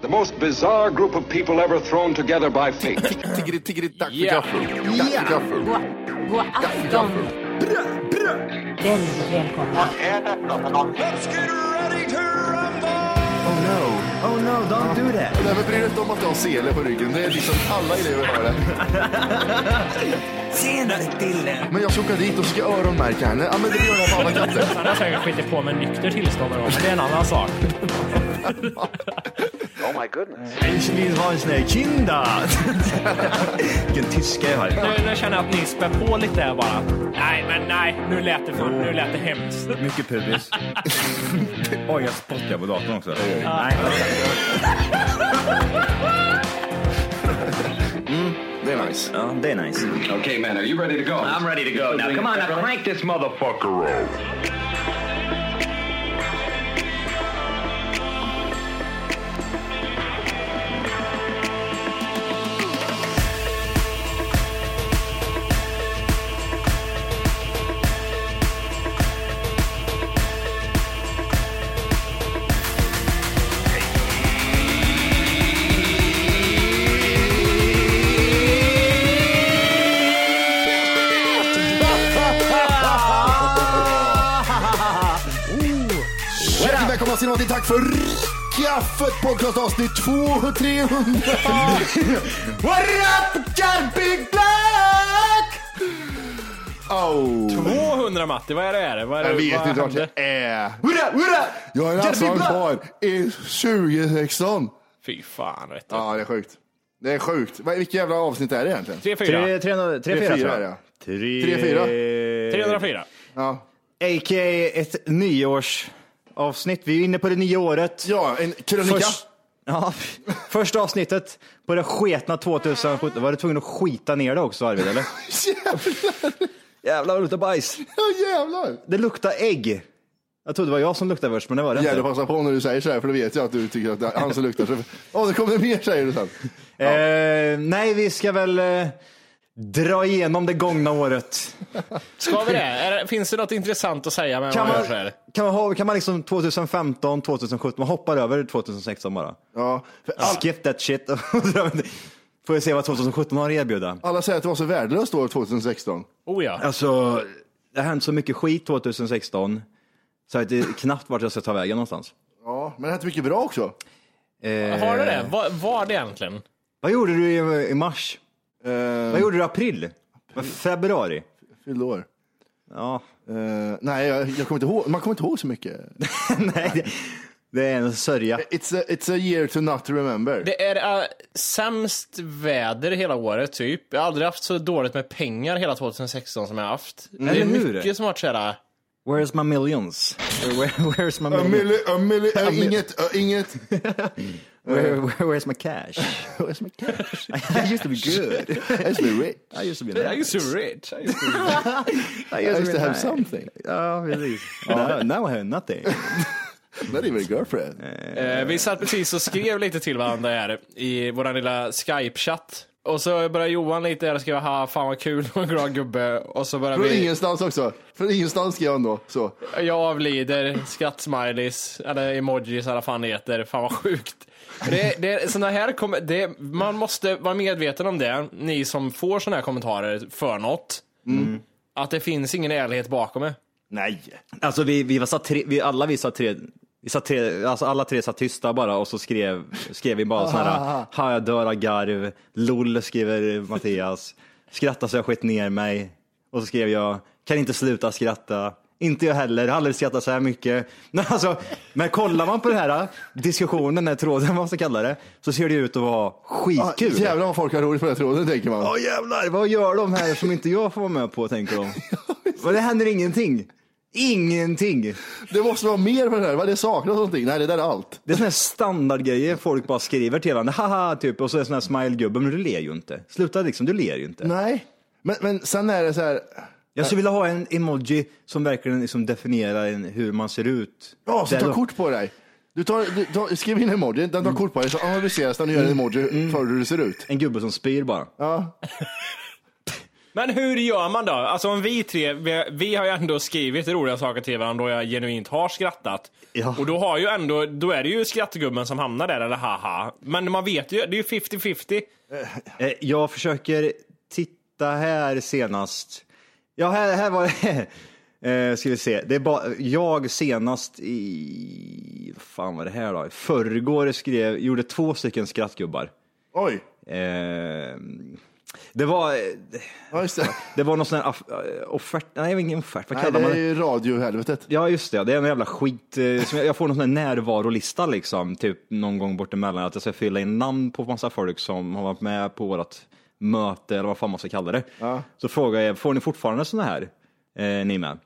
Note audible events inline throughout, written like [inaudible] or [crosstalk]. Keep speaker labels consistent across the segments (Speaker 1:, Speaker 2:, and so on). Speaker 1: The most bizarre group of people ever thrown together by fate.
Speaker 2: Tiggeri, tiggeri, tack för gaffel. Tack för gaffel.
Speaker 3: God afton! Väldigt välkomna.
Speaker 4: Oh no, oh no, don't do that.
Speaker 2: Nej, men bry dig inte om att du har sele på ryggen. Det är liksom alla elever har det.
Speaker 4: Tjenare Dille!
Speaker 2: Men jag ska åka dit och ska öronmärka henne. Ja, men det gör jag på alla katter. [laughs]
Speaker 5: Han har säkert skitit på med nykter tillstånd någon gång, men det är en annan sak.
Speaker 4: Ich vill ha en sån här kinda! Vilken tyska jag har.
Speaker 5: Nu, nu känner jag att ni spär på lite här bara. Nej, men nej, nu lät det, för, nu lät det hemskt.
Speaker 4: Mycket pubis. [laughs] Oj, jag spottar på datorn också. Nej,
Speaker 2: Det är nice.
Speaker 4: ja, det är nice.
Speaker 1: okay, man, are you ready to go? I'm ready to go. Now, come on, now crank this motherfucker up.
Speaker 2: Hjärtligt välkomna ska ni vara till Tack för kaffet podcast avsnitt 200 300. What up, Garpig Black? Oh.
Speaker 5: 200 Matti, vad är det? Är det? Vad är det?
Speaker 2: Jag vet
Speaker 5: vad
Speaker 4: typ
Speaker 2: inte vart
Speaker 5: hände?
Speaker 2: jag är. Hurra, hurra! Jag är alltså kvar i 2016.
Speaker 5: Fy fan, vet du.
Speaker 2: Ja, det är sjukt. Det är sjukt. Vad- Vilket jävla avsnitt är det egentligen?
Speaker 5: 3-4.
Speaker 4: 3-4 tror
Speaker 2: Tre, fyra,
Speaker 4: jag.
Speaker 2: ja. Tre, fyra.
Speaker 5: 304.
Speaker 2: Ja.
Speaker 4: A.k.a. ett nyårsavsnitt. Vi är inne på det nya året.
Speaker 2: ja, en krönika.
Speaker 4: Först- ja, första avsnittet på det sketna 2017. Var du tvungen att skita ner det också Arvid, eller? Jävlar vad det luktar
Speaker 2: [laughs]
Speaker 4: bajs.
Speaker 2: Ja, jävlar.
Speaker 4: Det luktar ägg. Jag trodde det var jag som luktade värst, men det var det
Speaker 2: Jävlar,
Speaker 4: inte.
Speaker 2: passa på när du säger så här, för då vet jag att du tycker att det är han som luktar så. Åh, det kommer mer säger du sen.
Speaker 4: Eh, nej, vi ska väl eh, dra igenom det gångna året.
Speaker 5: Ska vi det? Är, det- finns det något intressant att säga med
Speaker 4: Kan
Speaker 5: vad
Speaker 4: man,
Speaker 5: jag säger?
Speaker 4: kan man, ha, kan man liksom 2015, 2017, man hoppar över 2016 bara.
Speaker 2: Ja, för all,
Speaker 4: Skip that shit. [laughs] Får vi se vad 2017 har att erbjuda.
Speaker 2: alla säger att det var så värdelöst år 2016.
Speaker 5: Oh ja.
Speaker 4: Alltså, det har hänt så mycket skit 2016 så att det är knappt vart jag ska ta vägen någonstans.
Speaker 2: Ja, men det hände mycket bra också.
Speaker 5: Har du
Speaker 4: eh,
Speaker 5: det? Vad var det egentligen?
Speaker 4: Vad gjorde du i, i mars?
Speaker 2: Eh,
Speaker 4: Vad gjorde du i april? Vad, Februari?
Speaker 2: fyllde år.
Speaker 4: Ja, [laughs]
Speaker 2: Eh, nej, jag, jag kommer inte ihåg. Man kommer inte ihåg så mycket.
Speaker 4: nej, det, det är en sörja.
Speaker 2: It's a, it's a year to not remember.
Speaker 5: Det är äh, sämst väder hela året, typ. Jag har aldrig haft så dåligt med pengar hela 2016 som jag har haft. det är
Speaker 4: Eller hur?
Speaker 5: mycket som har varit så här... eh,
Speaker 4: Where's my millions? Where, [laughs] where's my
Speaker 2: A
Speaker 4: millions?
Speaker 2: milli- a milli- eh, inget, eh, [laughs] inget.
Speaker 4: Where, where, where's my cash? [laughs] where's my cash? [laughs] I used to be [laughs] good.
Speaker 2: That's the rich.
Speaker 4: I used to be nice.
Speaker 5: so rich.
Speaker 4: I
Speaker 2: I
Speaker 4: used,
Speaker 2: used to
Speaker 4: be
Speaker 2: have
Speaker 4: nice.
Speaker 2: something.
Speaker 4: Ja, [laughs] precis. Now, now I have [laughs] nothing.
Speaker 2: Not even a girlfriend.
Speaker 5: Eh, vi satt precis och skrev lite till varandra här i vår lilla Skype-chatt. Och så började Johan lite här och skrev ha fan vad kul och glad gubbe. Och så började
Speaker 2: Från
Speaker 5: vi,
Speaker 2: ingenstans också. Från ingenstans skrev han då. Så.
Speaker 5: jag avlider, skrattsmileys, eller emojis eller vad fan det heter. Fan vad sjukt. Det, det, såna här kom, det, man måste vara medveten om det, ni som får såna här kommentarer för något. Att det finns ingen ärlighet bakom det.
Speaker 4: Nej. Alltså vi, vi var satt tre, vi, alla vi satt tre Vi satt tre, alltså alla tre satt tysta bara och så skrev, skrev vi bara sådana här, ha jag dör av garv, LOL skriver Mattias, skratta så jag skett ner mig. Och så skrev jag, kan inte sluta skratta. Inte jag heller, har aldrig skrattat så här mycket. [laughs] Men, alltså, men kollar man på den här diskussionen, den här tråden, vad man ska kalla det, så ser det ut att vara
Speaker 2: Ja,
Speaker 4: skitkul.
Speaker 2: Ah, jävlar vad folk har roligt på den här tråden tänker man.
Speaker 4: Ja jävlar, vad gör de här som inte jag får vara med på tänker de. Men det händer ingenting. Ingenting.
Speaker 2: Det måste vara mer på den här, vad det saknas någonting. Nej det där är allt.
Speaker 4: Det är såna här standardgrejer folk bara skriver till varandra. Haha, typ. Och så är det sån här smile-gubbe. Men du ler ju inte. Sluta liksom, du ler ju inte.
Speaker 2: Nej, men, men sen är det så här.
Speaker 4: Jag skulle vilja ha en emoji som verkligen liksom definierar en, hur man ser ut.
Speaker 2: Ja, så
Speaker 4: Där
Speaker 2: ta
Speaker 4: då-
Speaker 2: kort på dig. Du tar, du tar, skriv in en emoji, den tar kort på dig, så analyseras den och gör en emoji för hur du ser ut.
Speaker 4: En gubbe som spyr bara.
Speaker 2: Ja.
Speaker 5: Men hur gör man då? Alltså om vi tre, vi, vi har ju ändå skrivit roliga saker till varandra och jag genuint har skrattat.
Speaker 4: Ja.
Speaker 5: Och då har ju ändå, då är det ju skrattgubben som hamnar där eller haha. Men man vet ju, det är ju 50-50.
Speaker 4: Eh, Jag försöker titta här senast. Ja, här, här var det. [laughs] Eh, ska vi se. Det är bara, jag senast i, vad fan var det här då? I Förrgår skrev, gjorde två stycken skrattgubbar.
Speaker 2: Oj,
Speaker 4: Eh, det var,
Speaker 2: ja, just det.
Speaker 4: det var någon sån här aff- eh, offert, nej det var ingen offert, vad
Speaker 2: Nej,
Speaker 4: kallar
Speaker 2: det
Speaker 4: man
Speaker 2: är
Speaker 4: det?
Speaker 2: ju radiohelvetet.
Speaker 4: Ja just det, det är en jävla skit. eh, Som jag, jag får någon sån här närvarolista liksom, typ någon gång bortemellan. Att jag ska fylla in namn på massa folk som har varit med på vårt möte eller vad fan man ska kalla det. Så frågar jag, får ni fortfarande såna här? Eh, ni med?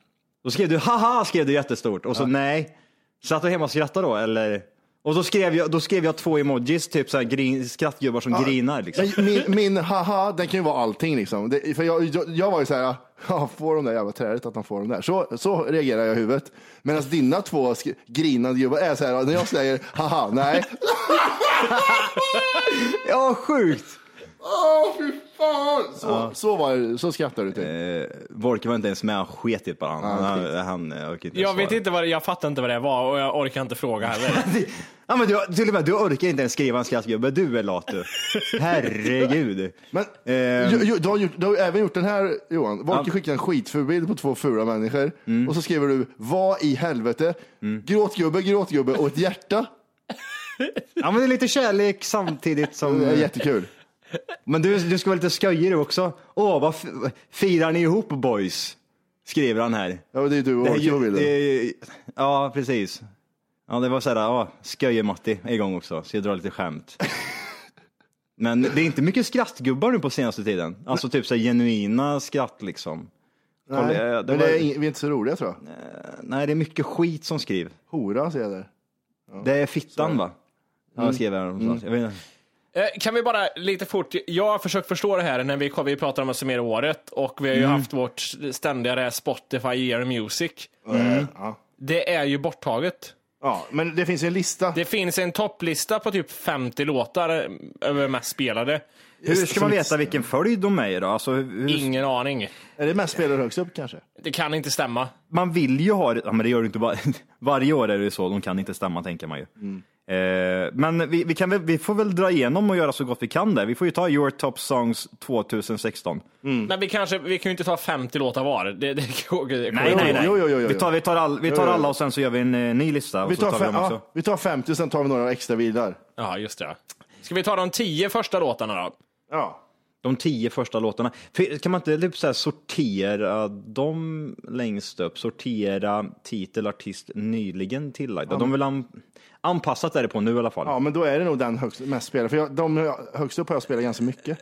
Speaker 4: Då skrev du, haha skrev du jättestort. Och så nej. Satt du hemma och skrattade då eller? Och då skrev jag, då skrev jag två emojis, typ så här grin, skrattgubbar som grinar. Liksom.
Speaker 2: Men Min, min haha, den kan ju vara allting liksom. Det, för jag, jag, jag var ju så här, ja, får de där jävla trädet att han får de där. Så, så reagerar jag i huvudet. Medan dina två sk- grinande gubbar är så här, när jag säger haha, nej.
Speaker 4: Ja, sjukt!
Speaker 2: [laughs] Åh, fy fan! Så, så, var, det- så skrattar du typ. till.
Speaker 4: Eh, Volker var inte ens med, han sket i det bara. Han, han, han, eh, orkade inte
Speaker 5: Jag
Speaker 4: svara.
Speaker 5: vet inte vad det, jag fattar inte vad det var och jag orkar inte fråga heller.
Speaker 4: Ja, men du, till och med, du orkar inte ens skriva en skrattgubbe. Du är lat du. Herregud.
Speaker 2: Men
Speaker 4: Ehm.
Speaker 2: ju, ju, du, har gjort, du har ju även gjort den här Johan. Volker skickade en skitfulbild på två fula människor
Speaker 4: Mm.
Speaker 2: och så skriver du vad i helvete, gråtgubbe, gråtgubbe och ett hjärta.
Speaker 4: Ja, men det är lite kärlek samtidigt
Speaker 2: Det är
Speaker 4: som...
Speaker 2: jättekul.
Speaker 4: [laughs] Men du, du ska vara lite sköjig du också. Åh, vad f- firar ni ihop boys? Skriver han här.
Speaker 2: Ja, men det är du och
Speaker 4: Det är
Speaker 2: Volker på
Speaker 4: ju,
Speaker 2: bilden.
Speaker 4: det är ju, ja, precis. Ja, det var såhär, ja, sköje-Matti är igång också, så jag drar
Speaker 2: [laughs]
Speaker 4: lite skämt. Men det är inte mycket skrattgubbar nu på senaste tiden. Alltså typ så här genuina skratt liksom. Kolla,
Speaker 2: Nej,
Speaker 4: eh, det
Speaker 2: men
Speaker 4: var-
Speaker 2: det är, ing- vi är inte så roliga tror jag.
Speaker 4: Nej, det är mycket skit som skriv.
Speaker 2: Hora ser jag där.
Speaker 4: Det är fittan va? Ja, jag skrev här någonstans. Jag vet inte.
Speaker 5: Eh, Kan vi bara lite fort, jag har försökt förstå det här när vi, vi pratar om att summera året och vi har ju haft vårt ständiga det här Spotify Year Music. Mm. Det är ju borttaget.
Speaker 2: Ja, men det finns ju en lista.
Speaker 5: Det finns en topplista på typ 50 låtar eh, över mest spelade.
Speaker 4: Hur ska man veta vilken följd de är i då? Alltså, hur...
Speaker 5: Ingen aning.
Speaker 2: Är det mest spelare högst upp kanske?
Speaker 5: Det kan inte stämma.
Speaker 4: Man vill ju ha det, ja, men det gör du inte bara. [laughs] Varje år är det ju så, de kan inte stämma tänker man ju. Eh, men vi, vi, kan väl, vi får väl dra igenom och göra så gott vi kan där. Vi får ju ta Your Top Songs 2016.
Speaker 5: Men vi kanske, vi kan ju inte ta 50 låtar var. Det, det, [laughs] går- det,
Speaker 4: Nej, nej, nej.
Speaker 2: Jo, jo, jo, jo,
Speaker 4: Vi tar, vi tar, all, vi tar
Speaker 2: jo.
Speaker 4: alla och sen så gör vi en eh, ny lista. Och
Speaker 2: Vi
Speaker 4: så tar
Speaker 2: tar,
Speaker 4: vi
Speaker 2: fem,
Speaker 4: dem också.
Speaker 2: ja, vi tar 50 och sen tar vi några extra vilar.
Speaker 5: Ja, just det. Ska vi ta de 10 första låtarna då?
Speaker 2: Ja.
Speaker 4: De tio första låtarna. För Kan man inte typ så här sortera dem längst upp? Sortera titel, artist, nyligen tillagda. De vill an... anpassat är det på nu i alla fall.
Speaker 2: ja,
Speaker 4: Ja,
Speaker 2: men då är det nog den högst, mest spelare. För jag, de högst upp har jag spelat ganska mycket.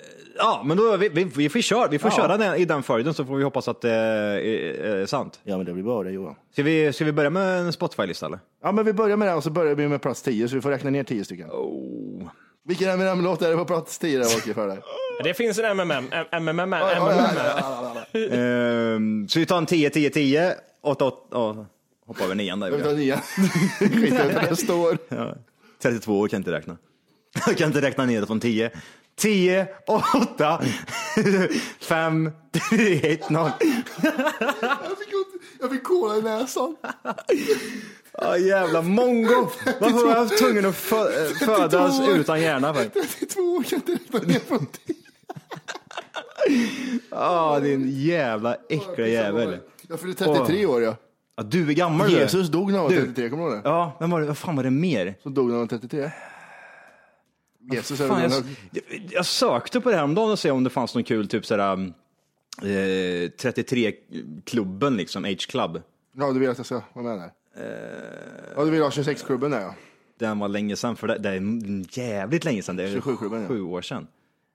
Speaker 4: men då, vi, vi, vi får, köra, vi får
Speaker 2: Ja.
Speaker 4: köra den, i den följden så får vi hoppas att det är, är, är sant.
Speaker 2: Ja, men det blir bra det Johan.
Speaker 4: Ska vi, ska vi börja med en Spotify-lista eller?
Speaker 2: Ja, men vi börjar med det här och så börjar vi med plats 10, så vi får räkna ner 10 stycken. Oh. Vilken M&M-låt är det på plats 10 där Åke för dig?
Speaker 5: Det finns en MMM, M-
Speaker 2: [laughs]
Speaker 5: MMM,
Speaker 2: Ja, ja,
Speaker 5: MMM.
Speaker 2: ja, ja, ja.
Speaker 4: Ehm, så vi tar en 10, 10, 10, 8, 8, oh, hoppa över nian
Speaker 2: Vi tar [laughs]
Speaker 4: där.
Speaker 2: nya. Skit i vad det står.
Speaker 4: 32 år kan jag inte räkna. [laughs] Jag kan inte räkna ner det från 10. 10, [laughs] 8, 5, 3, 1, 0.
Speaker 2: Jag fick ont- Jag fick kola i näsan.
Speaker 4: Ah, jävla mongo! Varför har jag haft tvungen att fö-
Speaker 2: [laughs]
Speaker 4: eh, födas
Speaker 2: 32 år.
Speaker 4: utan hjärna? För?
Speaker 2: 32 år kan jag inte räkna ner från 10.
Speaker 4: Ah, din jävla äckliga jävel.
Speaker 2: Jag fyller 33 år ja.
Speaker 4: Ja, du är gammal du.
Speaker 2: Jesus dog när han var
Speaker 4: Du.
Speaker 2: 33, kommer du ihåg det?
Speaker 4: Ja, vem var det? Vad fan var det mer?
Speaker 2: Som dog när han var 33. Jesus är
Speaker 4: Fan, jag,
Speaker 2: väl
Speaker 4: jag- jag sökte på det häromdagen och se om det fanns någon kul, typ sådär um, eh, 33-klubben liksom, H-club.
Speaker 2: Ja, du vill att jag ska vara med där?
Speaker 4: Eh.
Speaker 2: Ja, du vill ha 26-klubben där ja.
Speaker 4: Den var länge sedan, för det, det är jävligt länge sedan. Det är
Speaker 2: 27-klubben, ja.
Speaker 4: sju år sedan.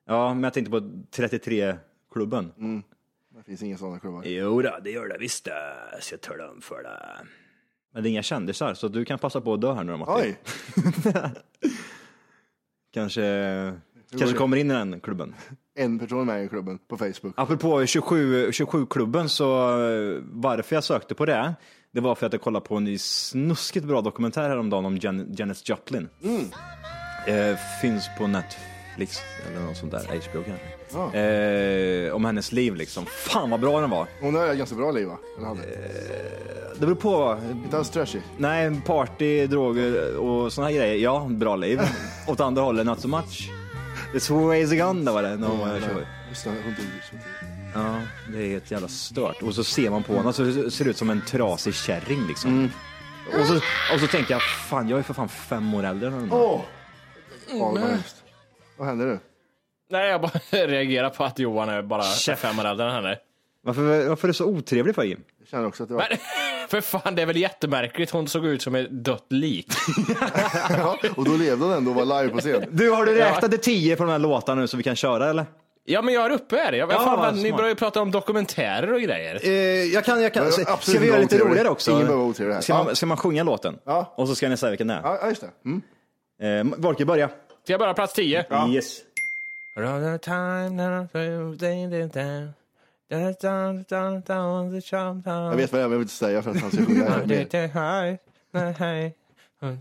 Speaker 4: Ja, men jag tänkte på 33-klubben.
Speaker 2: Mm. Det finns inga sådana klubbar.
Speaker 4: Jo då, det gör det visst det. Så jag tar om för det. Men det är inga kändisar, så du kan passa på att dö här nu då, Matti.
Speaker 2: Oj!
Speaker 4: [laughs] Kanske,
Speaker 2: det.
Speaker 4: kanske kommer in i den klubben.
Speaker 2: En person med i klubben på Facebook.
Speaker 4: Apropå 27 27-klubben, så eh, varför jag sökte på det, det var för att jag kollade på en snuskigt bra dokumentär häromdagen om Jan- Janis Joplin. Eh, finns på Netflix eller något sånt där, HBO kanske. Eh, om hennes liv liksom. Fan vad bra den var.
Speaker 2: Hon har ett ganska bra liv va? Eller hade.
Speaker 4: Eh. Det beror på.
Speaker 2: Inte alls trashy.
Speaker 4: Nej, party, droger och såna här grejer. Ja, bra liv. Åt andra hållet, not so much. It's ways again, det var det. No, mm,
Speaker 2: Just det, hon dog ju som tur.
Speaker 4: Ja, det är ett jävla stört. Och så ser man på honom så det ser ut som en trasig kärring liksom.
Speaker 2: Mm.
Speaker 4: Och, så, och så tänker jag, fan jag är för fan fem år äldre än honom.
Speaker 2: Åh! Fan vad hemskt. Vad hände nu?
Speaker 5: Nej, jag bara [laughs] reagerar på att Johan är bara fem år äldre än henne.
Speaker 4: Varför, varför är du så otrevlig för Jim?
Speaker 2: Jag känner också att det var...
Speaker 5: För fan, det är väl jättemärkligt. Hon såg ut som ett dött lik.
Speaker 2: [laughs]
Speaker 5: [laughs]
Speaker 2: Ja, och då levde hon ändå och var live på
Speaker 4: [laughs]
Speaker 2: scen.
Speaker 4: Du, har du räknat till tio på de här låtarna nu så vi kan köra eller?
Speaker 5: Ja, men jag är uppe här. Jag,
Speaker 4: Ja,
Speaker 5: fan,
Speaker 4: vad
Speaker 5: vad, ni
Speaker 4: smart.
Speaker 5: börjar ju prata om dokumentärer och grejer.
Speaker 4: Eh, jag kan, jag
Speaker 2: Ja,
Speaker 4: kan.
Speaker 2: absolut,
Speaker 4: Ska vi göra
Speaker 2: no
Speaker 4: lite
Speaker 2: otrevlig.
Speaker 4: roligare också?
Speaker 2: Ingen behöver vara otrevlig här.
Speaker 4: Ska
Speaker 2: Ja.
Speaker 4: man, ska man sjunga låten?
Speaker 2: Ja.
Speaker 4: Och så ska ni säga vilken det är.
Speaker 2: Ja, ja, just det. Mm.
Speaker 4: Eh, Volke, börja.
Speaker 5: Ska jag börja plats tio?
Speaker 4: Yes.
Speaker 5: Around the time that I feel they did that. Da- da- da- da- da- the shop down.
Speaker 2: Jag vet vad jag vill inte säga för att han ska [laughs] sjunga. här.
Speaker 5: I did it high, na- high.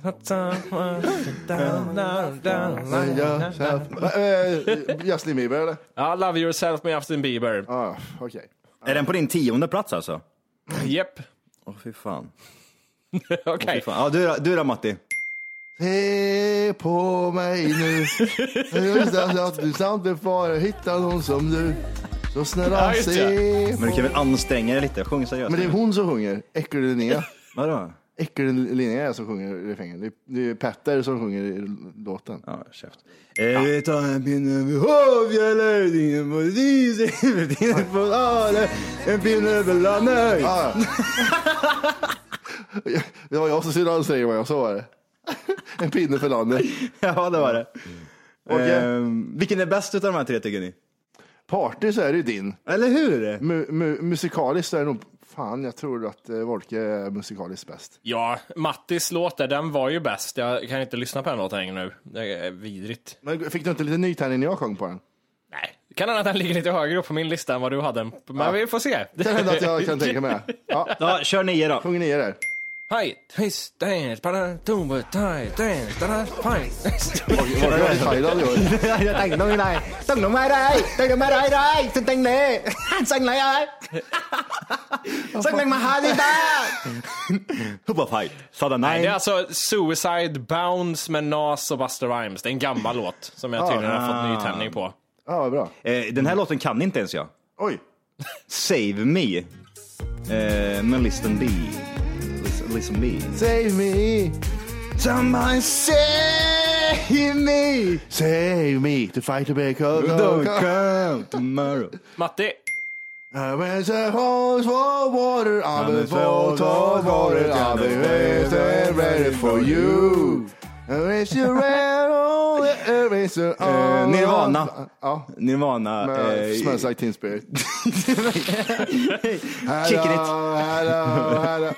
Speaker 5: Not so much. Down, down, down,
Speaker 2: Nej,
Speaker 5: down.
Speaker 2: jag- så här- Eh, Justin Bieber eller?
Speaker 5: Ja, Love yourself med Justin Bieber.
Speaker 2: Ja, ah, okej.
Speaker 4: Är den på din tionde plats alltså?
Speaker 2: [laughs]
Speaker 5: Japp.
Speaker 4: Åh fy fan. Fy
Speaker 5: Okej.
Speaker 4: fan. Ja, du, då- du då Matti?
Speaker 2: Se på mig nu. Jag visste att du samt befara hitta någon som du. Så snälla
Speaker 5: Ja, just det.
Speaker 2: se på
Speaker 4: Men du kan väl anstränga dig lite? Sjung seriöst.
Speaker 2: Men det är hon som sjunger. Äckellinnea.
Speaker 4: Vadå?
Speaker 2: Äckellinnea är som sjunger refrängen. Det är- Det är Petter som sjunger i låten.
Speaker 4: Ja, käft. Ett annat pinne vid hovgäller, din polis, din på are, en pinne vid landet.
Speaker 2: Ah. det var jag som skulle anstränga mig, jag så var det. [laughs] en pinne för landet.
Speaker 4: [laughs] Ja, det var det.
Speaker 2: Okej.
Speaker 4: Ehm, vilken är bäst utav de här tre tycker ni?
Speaker 2: Party så är det ju din.
Speaker 4: Eller hur?
Speaker 2: Mu- mu- musikaliskt så är det nog, fan jag tror att eh, Wolke är musikaliskt bäst.
Speaker 5: Ja, Mattis låt där, den var ju bäst. Jag kan inte lyssna på den låten längre nu. Det är eh, vidrigt.
Speaker 2: Men fick du inte lite nytändning när jag sjöng på den?
Speaker 5: Nej, det kan hända att den ligger lite högre upp på min lista än vad du hade. Men vi får se.
Speaker 2: Kan hända att jag kan tänka
Speaker 4: [laughs]
Speaker 2: mig det. Ja,
Speaker 4: Ja, kör nio då.
Speaker 2: sjunger ni där?
Speaker 5: [laughs] Hej, twist, dance, para, tumba, tie, dance, da, fine.
Speaker 2: [laughs] Var det i Thailand i år?
Speaker 4: Jag tänkte nog nej. Tänkte nog med dig, tänkte med dig, dig, [laughs] så tänkte ni. Säng dig här. [laughs] Säng dig med här lite. Hubba fight. Sada
Speaker 5: Det är
Speaker 4: nej.
Speaker 5: alltså Suicide Bounce med Nas och Buster Rhymes. Det är en gammal låt som
Speaker 2: Ah.
Speaker 5: jag tydligen har fått nytändning på.
Speaker 2: Ja, vad bra.
Speaker 4: Eh, Den här låten kan inte ens jag.
Speaker 2: Oj,
Speaker 4: Save Me. Eh, men listen B. Listen, listen B.
Speaker 2: save me,
Speaker 4: Someone save me.
Speaker 2: save me to fight the big cold
Speaker 4: Don't come tomorrow.
Speaker 5: Matti,
Speaker 2: When the holes for water, I'm a boat of water, I'll be waiting and ready for you. Raise your red on, raise your
Speaker 4: Eh, Nirvana.
Speaker 2: Ja,
Speaker 4: [laughs] Nirvana.
Speaker 2: med
Speaker 4: eh,
Speaker 2: Smells like teen
Speaker 4: [laughs]
Speaker 2: spirit.
Speaker 4: Kick it.
Speaker 2: Hello, hello, hello.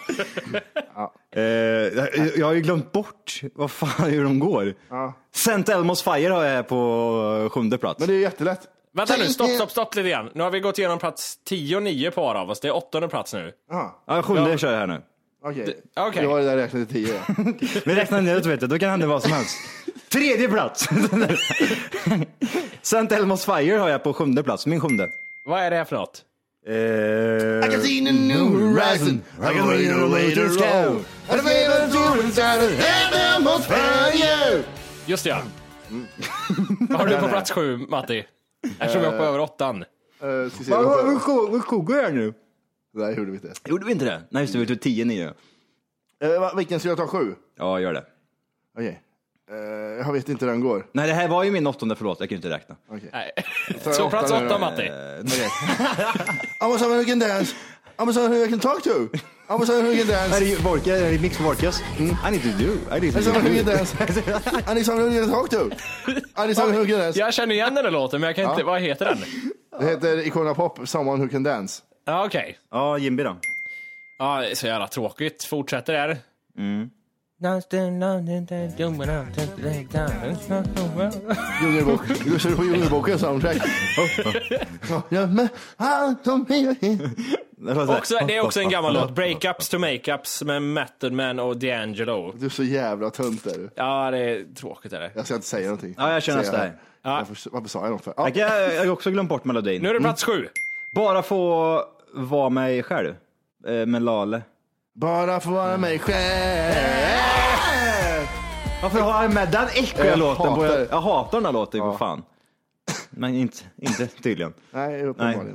Speaker 4: Eh, jag, jag har ju glömt bort vad fan [laughs] hur de går.
Speaker 2: Ja.
Speaker 4: St. Elmos Fire har jag på sjunde plats.
Speaker 2: Men det är ju jättelätt.
Speaker 5: vänta nu,
Speaker 2: Tänk
Speaker 5: stopp,
Speaker 2: er-
Speaker 5: stopp, stopp lite grann. Nu har vi gått igenom plats 10 och 9 på av oss. Det är åttonde plats nu.
Speaker 2: Ja,
Speaker 4: Ja, sjunde
Speaker 5: Ja.
Speaker 4: kör jag här nu.
Speaker 2: Okej,
Speaker 5: okej.
Speaker 2: jag har det där räknat till tio. ja.
Speaker 4: Vi räknar ner det, vet du. Då kan det hända vad som helst. Tredje plats! [laughs] St. Elmos Fire har jag på sjunde plats, min sjunde.
Speaker 5: Vad är det här för något?
Speaker 4: Eh,
Speaker 5: Just det, ja.
Speaker 4: Mm.
Speaker 5: Vad har du på plats 7, [laughs] Matti? Eftersom vi hoppade över åttan.
Speaker 2: Eh, ska se,
Speaker 4: Vad
Speaker 2: vad-
Speaker 4: sjung- vad sjunger jag nu?
Speaker 2: Nej, gjorde vi inte.
Speaker 4: Gjorde vi inte det? Nej, just det. Vi tog 10-9.
Speaker 2: Eh, va, vilken ska jag ta? Sju?
Speaker 4: Ja, gör det.
Speaker 2: Okej. Eh, jag vet inte hur den går.
Speaker 4: Nej, det här var ju min åttonde, förlåt. Jag kan ju inte räkna.
Speaker 5: Nej.
Speaker 2: Tar jag
Speaker 5: Så plats
Speaker 2: åtta nu då?
Speaker 5: åtta, Matti.
Speaker 4: eh.
Speaker 2: Okej. I was having a good dance. I was having a good talk to. I was having a good dance.
Speaker 4: Är det Vorkas? Är det Mix Vorkas? I need to do. I need to
Speaker 2: I was having a good
Speaker 4: do.
Speaker 2: dance. I need something to talk to. I need something who can dance.
Speaker 5: Jag känner igen den här låten, men jag kan inte... Vad heter den?
Speaker 2: Det heter Icona Pop, Someone Who Can Dance.
Speaker 5: Ja, okej.
Speaker 4: Ja, Jimby då.
Speaker 5: Ja, det är så jävla tråkigt. Fortsätter där.
Speaker 2: Djungelbok.
Speaker 5: [laughs]
Speaker 2: Du kör på Djungelboken soundtrack. Ja, men han som är-
Speaker 5: Också, det är också en gammal låt. Breakups to makeups med Method Man och D'Angelo.
Speaker 2: Du är så jävla tunt där du.
Speaker 5: Ja, det är tråkigt. Är det.
Speaker 2: Jag ska inte säga någonting.
Speaker 4: Ja, jag känner
Speaker 2: Säger
Speaker 4: oss där.
Speaker 2: här. Varför, varför sa jag något för? Ja.
Speaker 4: Jag kan- jag har också glömt bort melodin.
Speaker 5: Nu är det plats sju.
Speaker 4: Bara få vara mig själv. Eh, Med Lale.
Speaker 2: Bara för vara mig själv.
Speaker 4: Varför har jag med den äckliga
Speaker 2: Jag
Speaker 4: låten? På,
Speaker 2: hatar
Speaker 4: jag,
Speaker 2: det.
Speaker 4: jag hatar den här låten, för fan. Men inte, inte tydligen.
Speaker 2: Nej, uppenbarligen.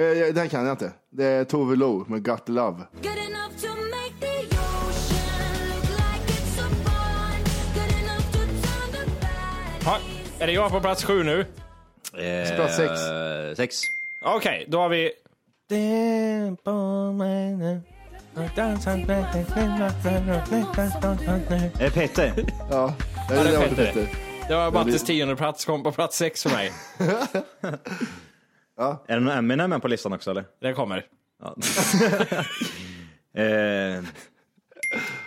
Speaker 2: Eh, jag- Den kan jag inte. Det är Tove Lo med Got Love.
Speaker 6: Good enough to make the ocean look like it's a pond. Good enough to turn the bad
Speaker 5: Ja, är det jag på plats sju nu?
Speaker 4: Eh,
Speaker 2: Plats sex.
Speaker 4: Sex.
Speaker 5: Okej, då har vi...
Speaker 4: Eh, Petter.
Speaker 2: Ja, det är det var
Speaker 5: Petter.
Speaker 2: Petter.
Speaker 5: Det var Mattis tionde plats kom på plats sex för mig.
Speaker 4: Är det någon Eminem med på listan också eller?
Speaker 5: Det kommer.
Speaker 4: Ja. [laughs] eh.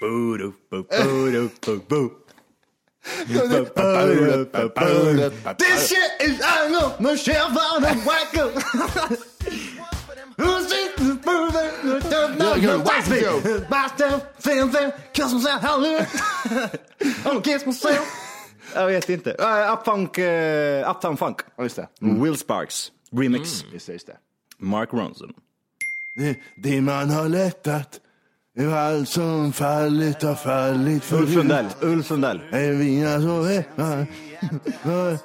Speaker 4: Boo-doo, boo, boo-doo, boo, boo.
Speaker 2: This shit is I know Michelle found a wacko. Who's this moving? Don't know what's me. Basta, film, film, kiss myself, [laughs] hallelujah. I'm kiss [laughs] myself.
Speaker 4: Jag vet inte. Uh, Upfunk,
Speaker 2: eh,
Speaker 4: uh, Uptown Funk.
Speaker 2: Ja, just det. Mm.
Speaker 4: Will Sparks. Remix.
Speaker 2: Just det, just det.
Speaker 4: Mark Ronson.
Speaker 2: Det- Det man har lättat är allt som fallit har fallit
Speaker 4: Ulf
Speaker 2: förut.
Speaker 4: Lundell. Ulf Lundell.
Speaker 2: Är vingar så väcknar.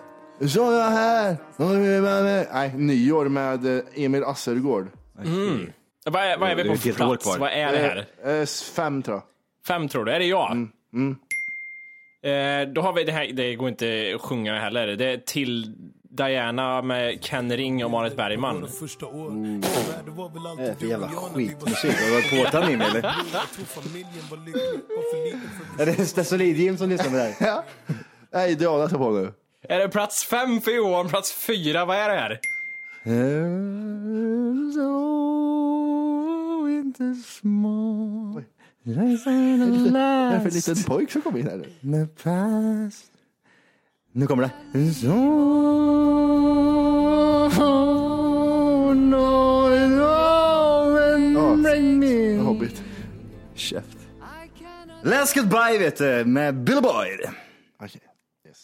Speaker 2: [laughs] Så jag här. och är man med- Nej, nyår med eh, Emil Assergård.
Speaker 5: Vad är, vad är vi
Speaker 4: Det är
Speaker 5: på
Speaker 4: ett
Speaker 5: för
Speaker 4: helt år
Speaker 5: plats?
Speaker 4: kvar.
Speaker 5: Vad är det här?
Speaker 2: Eh, eh, Fem tror jag.
Speaker 5: Fem tror du? Är det jag? Eh, då har vi det här, det går inte att sjunga heller. Det är till Diana med Ken Ring och Marit Bergman.
Speaker 4: Det är för jävla skitmusik. Har du varit på åtan in eller? Är [laughs] det Stasolid-Jim som lyssnar på det här?
Speaker 2: Nej, det har jag på nu.
Speaker 5: Är det plats fem för Johan, plats fyra, vad är det här?
Speaker 2: Vad är det för liten pojk som kom in här nu?
Speaker 4: Nu kommer det.
Speaker 2: En
Speaker 4: Mm.
Speaker 2: hobbit.
Speaker 4: Käft. Let's get by vet du, med Bill Boyd.
Speaker 2: Okej. Yes.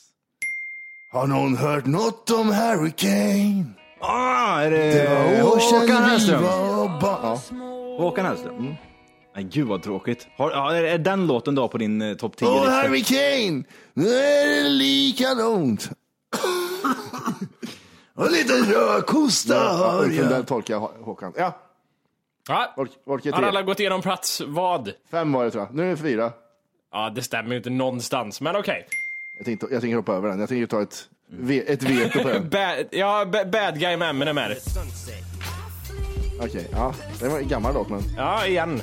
Speaker 2: Har någon hört något om Harry Kane?
Speaker 4: Ah, är det Håkan Hellström?
Speaker 2: Ja.
Speaker 4: Håkan Hellström. Mm. Nej, gud vad tråkigt. Har, ja, är, är den låten då på din eh, topp 10
Speaker 2: Åh,
Speaker 4: lista?
Speaker 2: Harry Kane! Nu är det likadant. [laughs] Och lite rödkosta har
Speaker 4: jag.
Speaker 2: Där tolkar jag Hå- Håkan. Ja,
Speaker 5: Ja.
Speaker 2: Volk- Volker
Speaker 5: Har
Speaker 2: tre.
Speaker 5: alla gått igenom plats vad?
Speaker 2: Fem var det tror jag. Nu är det fyra.
Speaker 5: Ja, det stämmer ju inte någonstans, men okej.
Speaker 2: Jag, tänkte, jag tänker hoppa över den. Jag tänker ta ett Ve- ett veto på
Speaker 5: [laughs]
Speaker 2: den.
Speaker 5: bad, ja, ba- bad guy med Eminem är det.
Speaker 2: Okej, ja. Det var en gammal låt men.
Speaker 5: Ja, igen.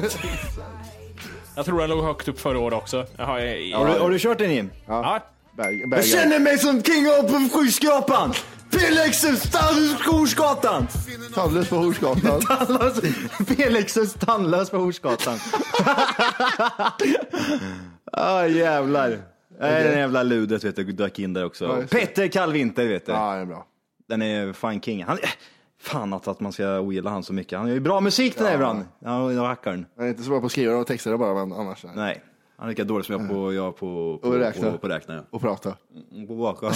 Speaker 5: [laughs] jag tror den låg högt upp förra året också. Jaha, jag,
Speaker 4: Har
Speaker 5: ja.
Speaker 4: du, har du kört den Jim?
Speaker 5: Ja.
Speaker 2: Bag,
Speaker 4: Jag
Speaker 2: bag,
Speaker 4: känner mig som king of skyskrapan! Felixens tandlös på Horsgatan!
Speaker 2: Tandlös på Horsgatan.
Speaker 4: Tandlös- Felixens tandlös på Horsgatan. ah jävlar. Nej, det jävla ludet vet du, dök in där
Speaker 2: Ja,
Speaker 4: också.
Speaker 2: just det.
Speaker 4: Petter Kallvinter vet du.
Speaker 2: Ja, det är bra.
Speaker 4: Den är fan king. Han, eh, fan att, att man ska ogilla han så mycket. Han gör ju bra musik den här ibland. Ja, och rackaren.
Speaker 2: Jag är inte så bra på att skriva och texter bara, men annars. Nej.
Speaker 4: Nej, han är lika dålig som jag på, jag på, på,
Speaker 2: Mm. Och räkna. Mm.
Speaker 4: på, på räkna. Ja.
Speaker 2: Och prata.
Speaker 4: På baka.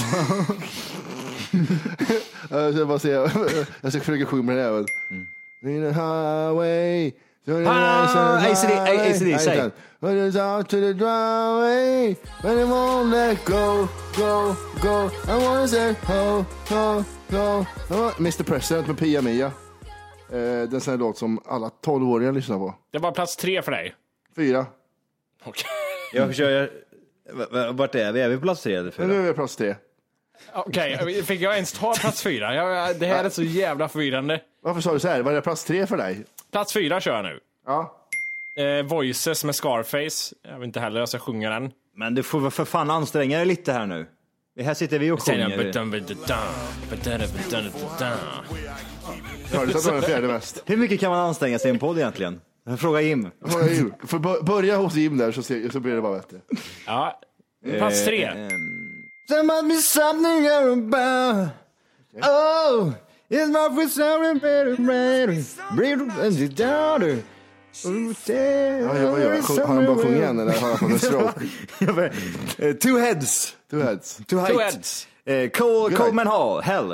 Speaker 2: Jag ska bara se. [laughs] Jag ska försöka sjunga med den även. In the highway.
Speaker 4: Ah, AC/DC, AC/DC, säg.
Speaker 2: When it's out to the driveway. When it won't let go, go, go. I wanna say ho, ho, ho. ho. Mr President med Pia Mia. Eh, det är en sån här låt som alla 12-åringar lyssnar på.
Speaker 5: Det var plats tre för dig.
Speaker 2: Fyra.
Speaker 5: Okej.
Speaker 4: [laughs] jag kör, v- v- vart är vi? Är vi på plats tre eller
Speaker 2: Men nu
Speaker 4: fyra?
Speaker 2: är vi på plats tre.
Speaker 5: Okej, fick jag ens ta plats fyra? Jag, det här är så jävla förvirrande.
Speaker 2: Varför sa du så här? Var det plats tre för dig?
Speaker 5: Plats fyra kör jag nu.
Speaker 2: Ja.
Speaker 5: Eh, Voices med Scarface. Jag vet inte heller, jag ska sjunga den.
Speaker 4: Men du får väl för fan anstränga dig lite här nu. Här sitter vi och sjunger.
Speaker 2: Hörde du att det var den fjärde mest?
Speaker 4: Hur mycket kan man anstränga sig i en podd egentligen? Fråga Jim.
Speaker 2: Fråga Jim. För bör- börja hos Jim där så, ser, så blir det bara bättre.
Speaker 5: Ja. Plats
Speaker 4: Eh, Ehm.
Speaker 5: tre.
Speaker 4: There must be something here about. Oh, it's not for something better, better. Bring and the daughter.
Speaker 2: Ja, jag, jag, jag, har han bara sjungit igen eller har han fått en
Speaker 4: [laughs]
Speaker 2: stroke?
Speaker 4: Two heads.
Speaker 2: Two heads.
Speaker 4: Two, height.
Speaker 5: heads.
Speaker 4: Eh, Cole,
Speaker 2: Good
Speaker 4: Coleman Hall, Hell.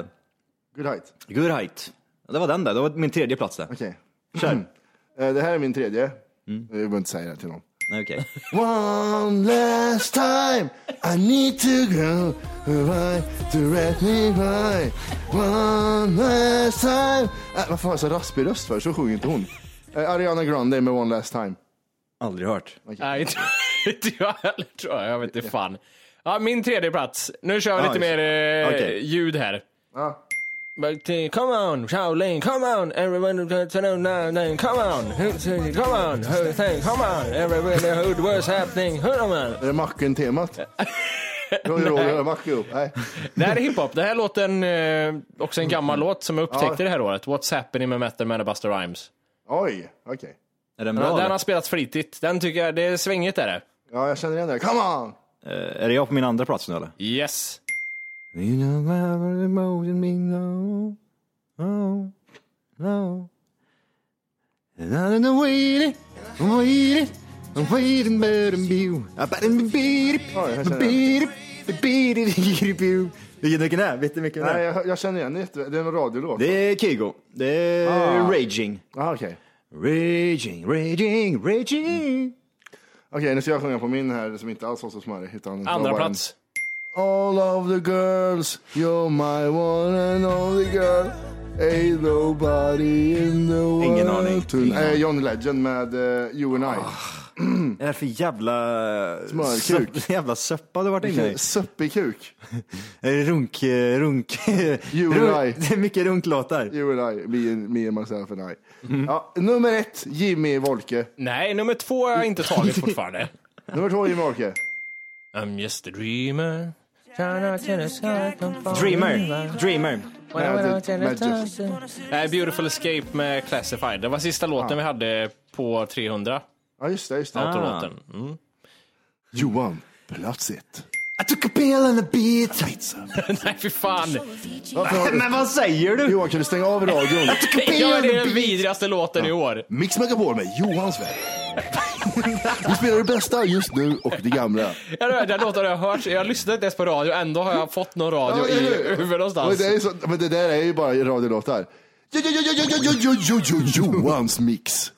Speaker 2: Good height.
Speaker 4: Good height. Det var den där, det var min tredje plats där.
Speaker 2: Okej.
Speaker 4: Kör.
Speaker 2: Eh, Det här är min tredje. Jag behöver inte säga det till någon.
Speaker 4: Nej, Okej.
Speaker 2: One last time I need to go right to let me by One last time äh, Varför har jag så raspig röst för? Så sjunger inte hon. Eh, Ariana Grande med One last time.
Speaker 4: Aldrig hört.
Speaker 5: Nej, inte- [laughs] inte jag heller tror jag. Jag vet inte fan. Ja, min tredje plats. Nu kör vi
Speaker 4: Ja,
Speaker 5: lite
Speaker 4: just
Speaker 5: mer
Speaker 4: det.
Speaker 5: eh,
Speaker 4: Okej.
Speaker 5: ljud här.
Speaker 2: Ja.
Speaker 5: But, eh, Come on, Shaolin, come on, everyone who's to know now, then come on, Who's- come on, who's- come on, everybody who was happening, come on.
Speaker 2: Är det Macken-temat? [laughs] Roger, Roger, Macke upp. Nej.
Speaker 5: Det här är hiphop. Det här låten, eh, också en gammal
Speaker 4: Mm.
Speaker 5: låt som jag upptäckte det här året. What's happening med Method Man och Busta Rhymes.
Speaker 2: Oj, okej.
Speaker 4: Är den
Speaker 5: Den,
Speaker 4: bra?
Speaker 5: den
Speaker 4: eller?
Speaker 5: har spelats flitigt. Den tycker jag, det är svängigt är det.
Speaker 2: Ja, jag känner igen det. Come on!
Speaker 4: Eh, Är det jag på min andra plats nu eller?
Speaker 5: Yes.
Speaker 4: You know never the motion me no, no, no. And I'm the waiting, I'm waiting, I'm waiting better than you. I better be beat it,
Speaker 2: Oj, jag känner
Speaker 4: beat it, beat it, beat it, you. Vilken vilken är? Vet du vilken det
Speaker 2: Nej,
Speaker 4: är?
Speaker 2: jag, jag känner igen det. jätte- Det är en radiolåt.
Speaker 4: Det är Kygo. Det är
Speaker 2: Ah.
Speaker 4: Raging.
Speaker 2: Ah, okej.
Speaker 4: Raging, raging, raging.
Speaker 2: Okej, nu ska jag sjunga på min här som inte alls var så smarrig. Utan
Speaker 5: Andra
Speaker 2: var bara en-
Speaker 5: plats.
Speaker 2: All of the girls, you're my one and only girl. Ain't nobody in the world.
Speaker 4: Ingen aning.
Speaker 2: tonight.
Speaker 4: Ingen aning. Ah,
Speaker 2: Eh, John Legend med eh, You and I.
Speaker 4: Vad är det för jävla...
Speaker 2: Smörkuk.
Speaker 4: söpp- Jävla söppa du varit inne i.
Speaker 2: Söppig kuk.
Speaker 4: Runk, eh, runk.
Speaker 2: You
Speaker 4: [laughs] runk-
Speaker 2: and I.
Speaker 4: Det är mycket runklåtar.
Speaker 2: You and I, me and, me and myself and I. Ja, nummer ett, Jimmy Wolke.
Speaker 5: Nej, nummer två har jag inte tagit
Speaker 4: [laughs]
Speaker 5: fortfarande.
Speaker 2: Nummer två, Jimmy Wolke.
Speaker 5: I'm just a dreamer.
Speaker 4: Dreamer, dreamer.
Speaker 2: Magic. Magic.
Speaker 5: Nej, Äh, Beautiful Escape med Classified. Det var sista låten vi hade på 300.
Speaker 2: Ja, just det. Just det.
Speaker 5: Autolåten.
Speaker 2: Ah.
Speaker 5: Mm. [laughs]
Speaker 2: Johan, plats ett.
Speaker 4: I took a pill and a beat.
Speaker 5: Nej, fy fan.
Speaker 2: Varför har du-
Speaker 4: Men vad säger du?
Speaker 2: Johan, kan du stänga av radion?
Speaker 5: Ja, det är den vidrigaste låten i år.
Speaker 2: Mix Megapol med Johan Svärd. Vi spelar det bästa just nu och det gamla.
Speaker 5: Ja, det- Den låten har jag hört. Jag lyssnade inte ens på radio, ändå har jag fått någon radio i huvudet
Speaker 2: Men
Speaker 5: någonstans.
Speaker 2: det, är så, men det där är ju bara radiolåtar. Jo, jo, jo, jo, jo, jo, jo, jo, jo, Johans mix.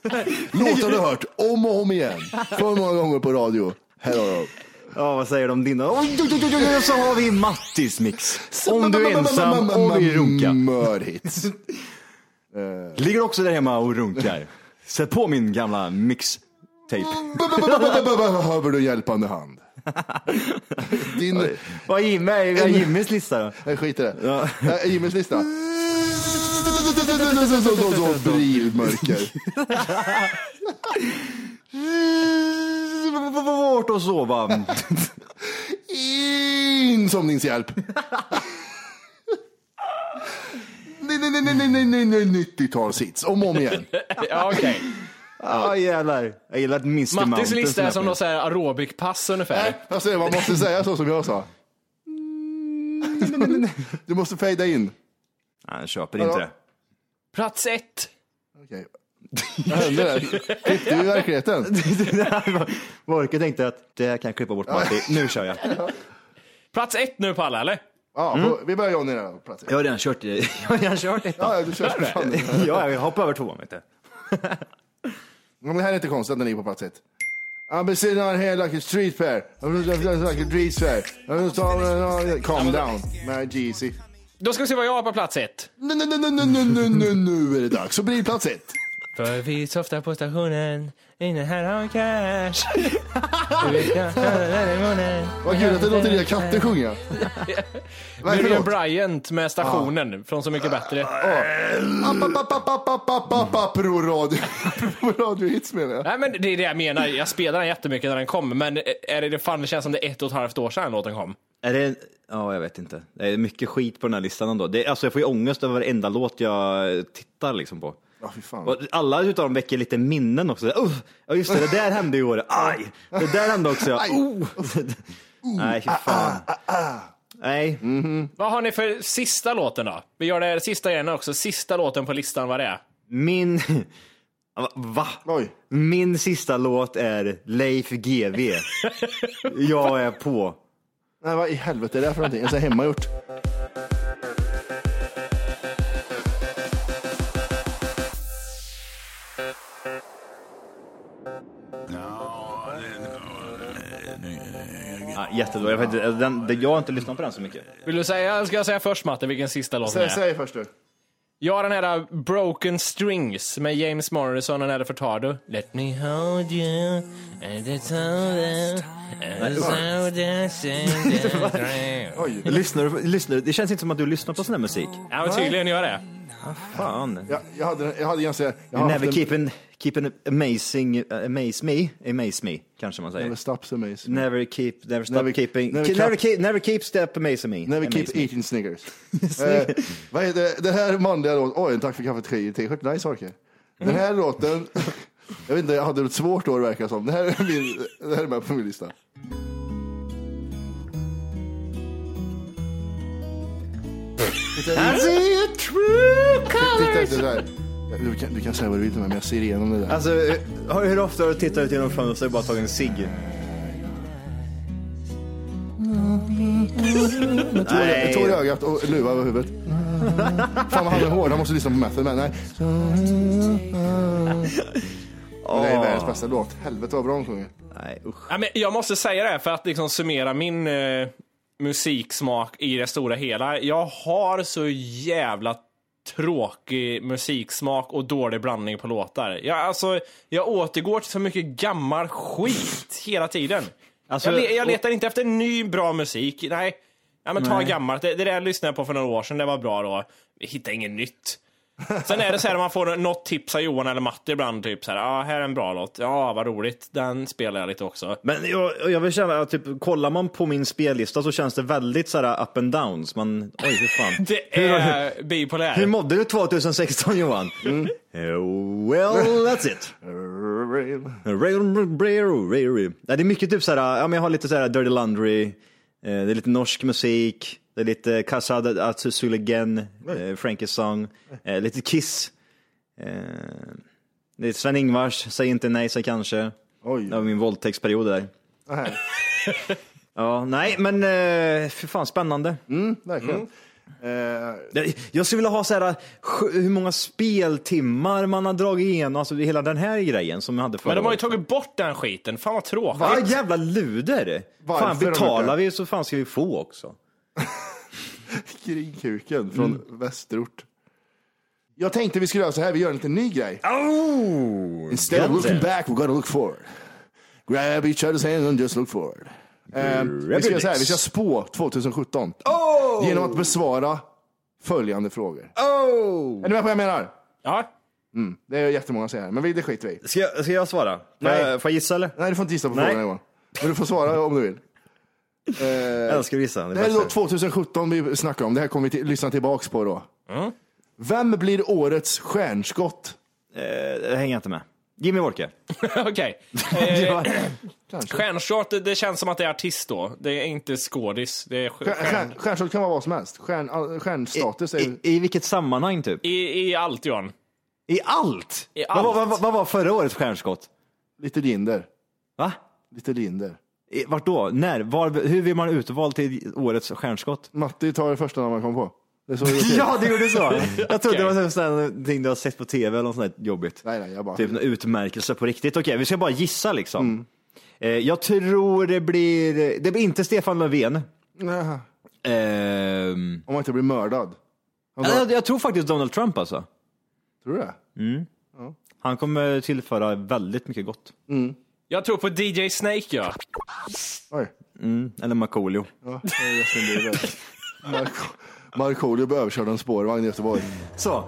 Speaker 2: Låtar du hört om och om igen. För många gånger på radio. Här har du.
Speaker 4: Ja, vad säger de om dina? Oj, oj, oj, oj, oj, så har vi Mattis mix. Om du är ensam och vill runka.
Speaker 2: Mörhits.
Speaker 4: Ligger också där hemma och runkar. [laughs] Sätt på min gamla mix-tape.
Speaker 2: Behöver du en hjälpande hand? Din,
Speaker 4: Vad är Jimmy? Vad är Jimmys lista då?
Speaker 2: jag skiter i det.
Speaker 4: Ja.
Speaker 2: Eh, Jimmys lista. Brilmörker.
Speaker 4: Vart och sova.
Speaker 2: Insomningshjälp. Nej, nej, nej, nej, nej, nej, nej, 90-talshits. Om och om igen.
Speaker 5: Ja, okej.
Speaker 4: [laughs] Ja jävlar. Jag gillar att Mr.
Speaker 5: Mattis
Speaker 4: Mountain
Speaker 5: lista är som
Speaker 4: snabbt.
Speaker 5: något så här aerobikpass ungefär.
Speaker 2: Alltså, man måste säga så som jag sa. Du måste fejda in.
Speaker 4: Nej, jag köper inte det.
Speaker 5: Plats ett.
Speaker 2: Okej. Vad hände där? Klippte du i verkligheten?
Speaker 4: [laughs] Vorke tänkte att det här kan jag klippa bort Matti. Nu kör jag.
Speaker 5: Plats ett nu Palle, eller?
Speaker 2: Ja, på- Vi börjar Johnny där. på plats ett.
Speaker 4: Jag har redan kört, [laughs] jag har redan kört ett.
Speaker 2: Ja, ja, du kör för fan.
Speaker 4: [laughs] ja, jag hoppar över tvåan vet du.
Speaker 2: Ja, men det här är inte konstigt att den ligger på plats ett. Abessinan here like a street fair. Like a street fair. Calm down. Med Jeezy.
Speaker 5: Då ska vi se vad jag har på plats ett.
Speaker 2: Nu, nu, nu, nu, nu, nu, nu, nu är det dags att bli plats ett.
Speaker 5: För vi softar på stationen, inne här har cash. Du vet, jag hör den i munnen.
Speaker 2: Vad kul att det låter dina katter
Speaker 4: [laughs]
Speaker 2: sjunga. Vad är det för låt?
Speaker 5: Miriam Bryant med stationen från Så Mycket Bättre.
Speaker 2: App, app, app, app, app, app, app, app, Pro radio. [laughs] Pro radio hits menar jag.
Speaker 5: Nej men det är det jag menar, jag spelade den jättemycket när den kom, men är det, det fan det känns som det är ett och ett halvt år sedan låten kom.
Speaker 4: Är det, ja, jag vet inte. Det är mycket skit på den här listan ändå. Det, alltså, jag får ju ångest över varenda låt jag tittar liksom på.
Speaker 2: Ja, fy fan.
Speaker 4: Och alla utav dem väcker lite minnen också. Uh, ja just det, det där hände i år. Aj! Det där hände också. Ja.
Speaker 2: Aj. Oh! Ah,
Speaker 4: Oh. Nej, fy fan. Nej,
Speaker 5: Vad har ni för sista låten då? Vi gör det här sista igen också, sista låten på listan vad det är.
Speaker 4: min... Va?
Speaker 2: Oj.
Speaker 4: Min sista låt är Leif GW. Jag är på.
Speaker 2: Nej, vad i helvete är det här för någonting? Jag säger
Speaker 4: [laughs]
Speaker 2: hemmagjort.
Speaker 4: Ja, jättebra. Jag, vet, inte, alltså, den, den- jag har inte lyssnat på den så mycket.
Speaker 5: Vill du säga, ska jag säga först Matte vilken sista låt det
Speaker 2: Säg,
Speaker 5: är?
Speaker 2: säg först du.
Speaker 5: Jag har den här Broken Strings med James Morrison och den här Furtado. Let me hold you and it's all there. And so dancing the dream.
Speaker 2: Oj.
Speaker 4: Lyssnar, du- lyssnar, du- det känns inte som att du lyssnar på sån här musik.
Speaker 5: Ja men tydligen gör det.
Speaker 4: Fan.
Speaker 2: Jag, jag hade, jag hade ganska... Jag
Speaker 4: You
Speaker 2: har
Speaker 4: never
Speaker 2: haft
Speaker 4: keep an, keep an amazing, uh, amaze me, amaze me, kanske man säger.
Speaker 2: Never stops amazing.
Speaker 4: Never keep, never stop
Speaker 2: Never-
Speaker 4: keeping,
Speaker 2: never
Speaker 4: never, never,
Speaker 2: cap-
Speaker 4: keep, never keep step amazing me.
Speaker 2: Never keep
Speaker 4: Amaze
Speaker 2: [laughs]
Speaker 4: me.
Speaker 2: eating Snickers. eh, vad är det? Den här manliga låten, oj, tack för kaffet, skier, t-shirt, nice Orke. Den här låten, jag vet inte, jag hade ett svårt år verkar det som. Den här är, min, den här är med på min lista.
Speaker 4: I see a true
Speaker 2: Titta
Speaker 4: colors.
Speaker 2: efter så här. Du kan, du kan säga vad du vill till mig, men jag ser igenom det där.
Speaker 4: [laughs] Alltså, hur hur ofta har du tittat ut genom fönstret och bara tagit
Speaker 2: [laughs]
Speaker 4: en cigg?
Speaker 2: Tår- Tår i ögat och luva över huvudet. Fan vad han är hård, han måste lyssna på Method Man. Nej. Det är världens bästa låt. Helvete vad bra de sjunger.
Speaker 4: Nej, usch.
Speaker 5: Ja, men jag måste säga det här för att liksom summera min eh, musiksmak i det stora hela. Jag har så jävla tråkig musiksmak och dålig blandning på låtar. Jag, alltså, jag återgår till så mycket gammal skit hela tiden.
Speaker 4: Alltså,
Speaker 5: jag, le- jag
Speaker 4: och-
Speaker 5: letar inte efter ny bra musik. Nej, ja, men ta gammalt. Det, det där lyssnade jag på för några år sedan, det var bra då. Jag hittar inget nytt. Sen är det så här man får något tips av Johan eller Matti ibland, typ så här, ja ah, här är en bra låt, ja vad roligt, den spelar jag lite också.
Speaker 4: Men jag, jag vill känna, att typ, kollar man på min spellista så känns det väldigt så här up and downs. Man, oj, hur
Speaker 2: [laughs]
Speaker 4: fan.
Speaker 5: Det
Speaker 4: Hur-
Speaker 5: är bipolär.
Speaker 4: Hur mådde du 2016 Johan?
Speaker 2: Mm.
Speaker 4: Eh, Well, that's it. Nej, Det är mycket typ så här, ja, men jag har lite så här Dirty Laundry, eh, det är lite norsk musik, det är lite Casa Atsuligen, eh, Frankies song, eh, lite Kiss. eh, Det är Sven-Ingvars, Säg inte nej, säg kanske.
Speaker 2: Oj.
Speaker 4: Det var min våldtäktsperiod där.
Speaker 2: Nej.
Speaker 4: [laughs] Ja, nej, men eh, för fan spännande.
Speaker 5: Mm.
Speaker 2: Verkligen. Eh,
Speaker 4: Jag- Jag skulle vilja ha så här, eh, sj- hur många speltimmar man har dragit igenom, alltså hela den här grejen som jag hade förra
Speaker 5: Men de har ju
Speaker 4: året.
Speaker 5: tagit bort den skiten, fan vad tråkigt.
Speaker 4: Vad jävla luder!
Speaker 2: Varför
Speaker 4: fan
Speaker 2: har de
Speaker 4: betalar
Speaker 2: gjort
Speaker 4: vi så fan ska vi få också.
Speaker 2: Kring kuken från västerort. Jag tänkte vi skulle göra så här, vi gör en liten ny grej.
Speaker 4: Oh!
Speaker 2: Instead of looking back, we're gonna look forward. Grab each other's hands and just look forward. Eh, vi, ska göra så här, vi ska spå 2017 oh! genom att besvara följande frågor.
Speaker 4: Oh!
Speaker 2: Är ni med på vad jag menar?
Speaker 5: Ja.
Speaker 2: Mm. Det är jättemånga som säger här, men vi- det skiter vi i.
Speaker 4: Ska jag, ska jag svara? Får
Speaker 2: Nej.
Speaker 4: jag, får jag gissa eller?
Speaker 2: Nej, du får inte gissa på
Speaker 4: Nej.
Speaker 2: frågan Johan. Men du får svara om du vill.
Speaker 4: Jag älskar att gissa. Det
Speaker 2: Det
Speaker 4: är
Speaker 2: här är då
Speaker 4: bäst.
Speaker 2: 2017 vi snackar om. Det här kommer vi till, lyssna tillbaks på då. Vem blir årets stjärnskott?
Speaker 4: Eh, det hänger jag inte med. Jimmy [clears throat] Wolke.
Speaker 5: [laughs] Okej. Eh, Stjärnshot, det, det känns som att det är artist då. Det är inte skådis. Det är
Speaker 2: Stjär-
Speaker 5: stjär-
Speaker 2: stjär- Stjärnskott kan vara vad som helst. Stjärn, all- stjärnstatus är
Speaker 4: I, I vilket sammanhang typ? I,
Speaker 5: I, I allt Johan.
Speaker 4: allt?
Speaker 5: I
Speaker 4: Vad, var-
Speaker 5: allt.
Speaker 4: vad, vad var förra årets stjärnskott?
Speaker 2: lite linder.
Speaker 4: Va?
Speaker 2: Lite linder.
Speaker 4: I, vart då? När? Var, hur blir man utvald till årets stjärnskott?
Speaker 2: Matti tar det första namn man kom på. Det är så det går till.
Speaker 4: Ja, det gjorde så. Jag trodde det var typ sån här någonting du har sett på tv eller något sånt där jobbigt.
Speaker 2: Nej, nej, jag bara... Mm.
Speaker 4: Typ en utmärkelse på riktigt. Okej, vi ska bara gissa liksom. Eh, jag tror det blir, det blir inte Stefan Löfven.
Speaker 2: Nähä.
Speaker 4: Ehm,
Speaker 2: Om man inte blir mördad. Han bara,
Speaker 4: jag, jag tror faktiskt Donald Trump alltså.
Speaker 2: Tror du det?
Speaker 4: Han kommer tillföra väldigt mycket gott.
Speaker 5: Jag tror på DJ Snake ja.
Speaker 2: Oj.
Speaker 4: Eller Markoolio.
Speaker 2: Ja, det är Justin Bieber. Marko- Markoolio blir överkörd av en spårvagn i Göteborg.
Speaker 4: Så,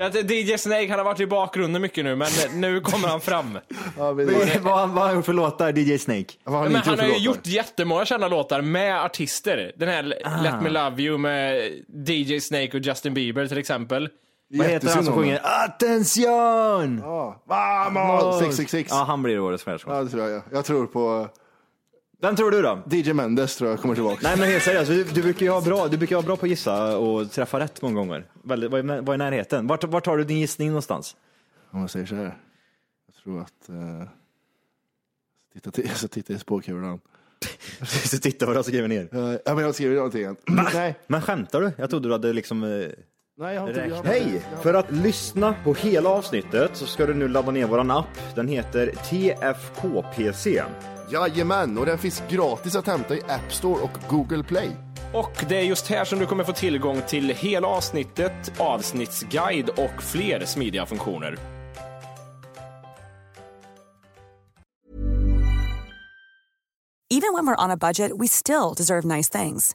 Speaker 5: Att DJ Snake, han har varit i bakgrunden mycket nu, men nu kommer han fram.
Speaker 2: Ja, vi-
Speaker 4: vad vad har han gjort för låtar, DJ Snake?
Speaker 2: Vad har
Speaker 5: Ja,
Speaker 2: han
Speaker 5: men
Speaker 2: inte
Speaker 5: han har ju
Speaker 2: för låtar?
Speaker 5: gjort jättemånga kända låtar med artister. Den här Let Me Love You med DJ Snake och Justin Bieber till exempel.
Speaker 4: Vad heter han
Speaker 2: Jättesynd
Speaker 4: som
Speaker 2: om
Speaker 4: sjunger Attention?
Speaker 2: Ja. Vamos! 666.
Speaker 4: Ja,
Speaker 2: Ja.
Speaker 4: han blir årets stjärnskott.
Speaker 2: det tror jag. Jag tror på
Speaker 4: Vem tror du då?
Speaker 2: DJ Mendes tror jag kommer tillbaka.
Speaker 4: Nej men helt seriöst, du, du brukar ju ha bra, du brukar ju ha bra på att gissa och träffa rätt många gånger. Väldigt, vad, är, vad är närheten? Vart, vart har du din gissning någonstans? [laughs]
Speaker 2: Om jag säger så här. Jag tror att... Eh, titta till, jag ska titta i spåkulan.
Speaker 4: Så titta vad du har skrivit
Speaker 2: Eh,
Speaker 4: ner.
Speaker 2: ja, men jag har skrivit någonting. [clears throat] Nej,
Speaker 4: Men skämtar du? Jag trodde du hade liksom... eh,
Speaker 2: nej, jag har inte... Jag har
Speaker 4: Hej! För att lyssna på hela avsnittet så ska du nu ladda ner våran app. Den heter TFKPC.
Speaker 2: Jajamän, och den finns gratis att hämta i App Store och Google Play.
Speaker 5: Och det är just här som du kommer få tillgång till hela avsnittet, avsnittsguide och fler smidiga funktioner.
Speaker 7: Even when we're on a budget, we still deserve nice things.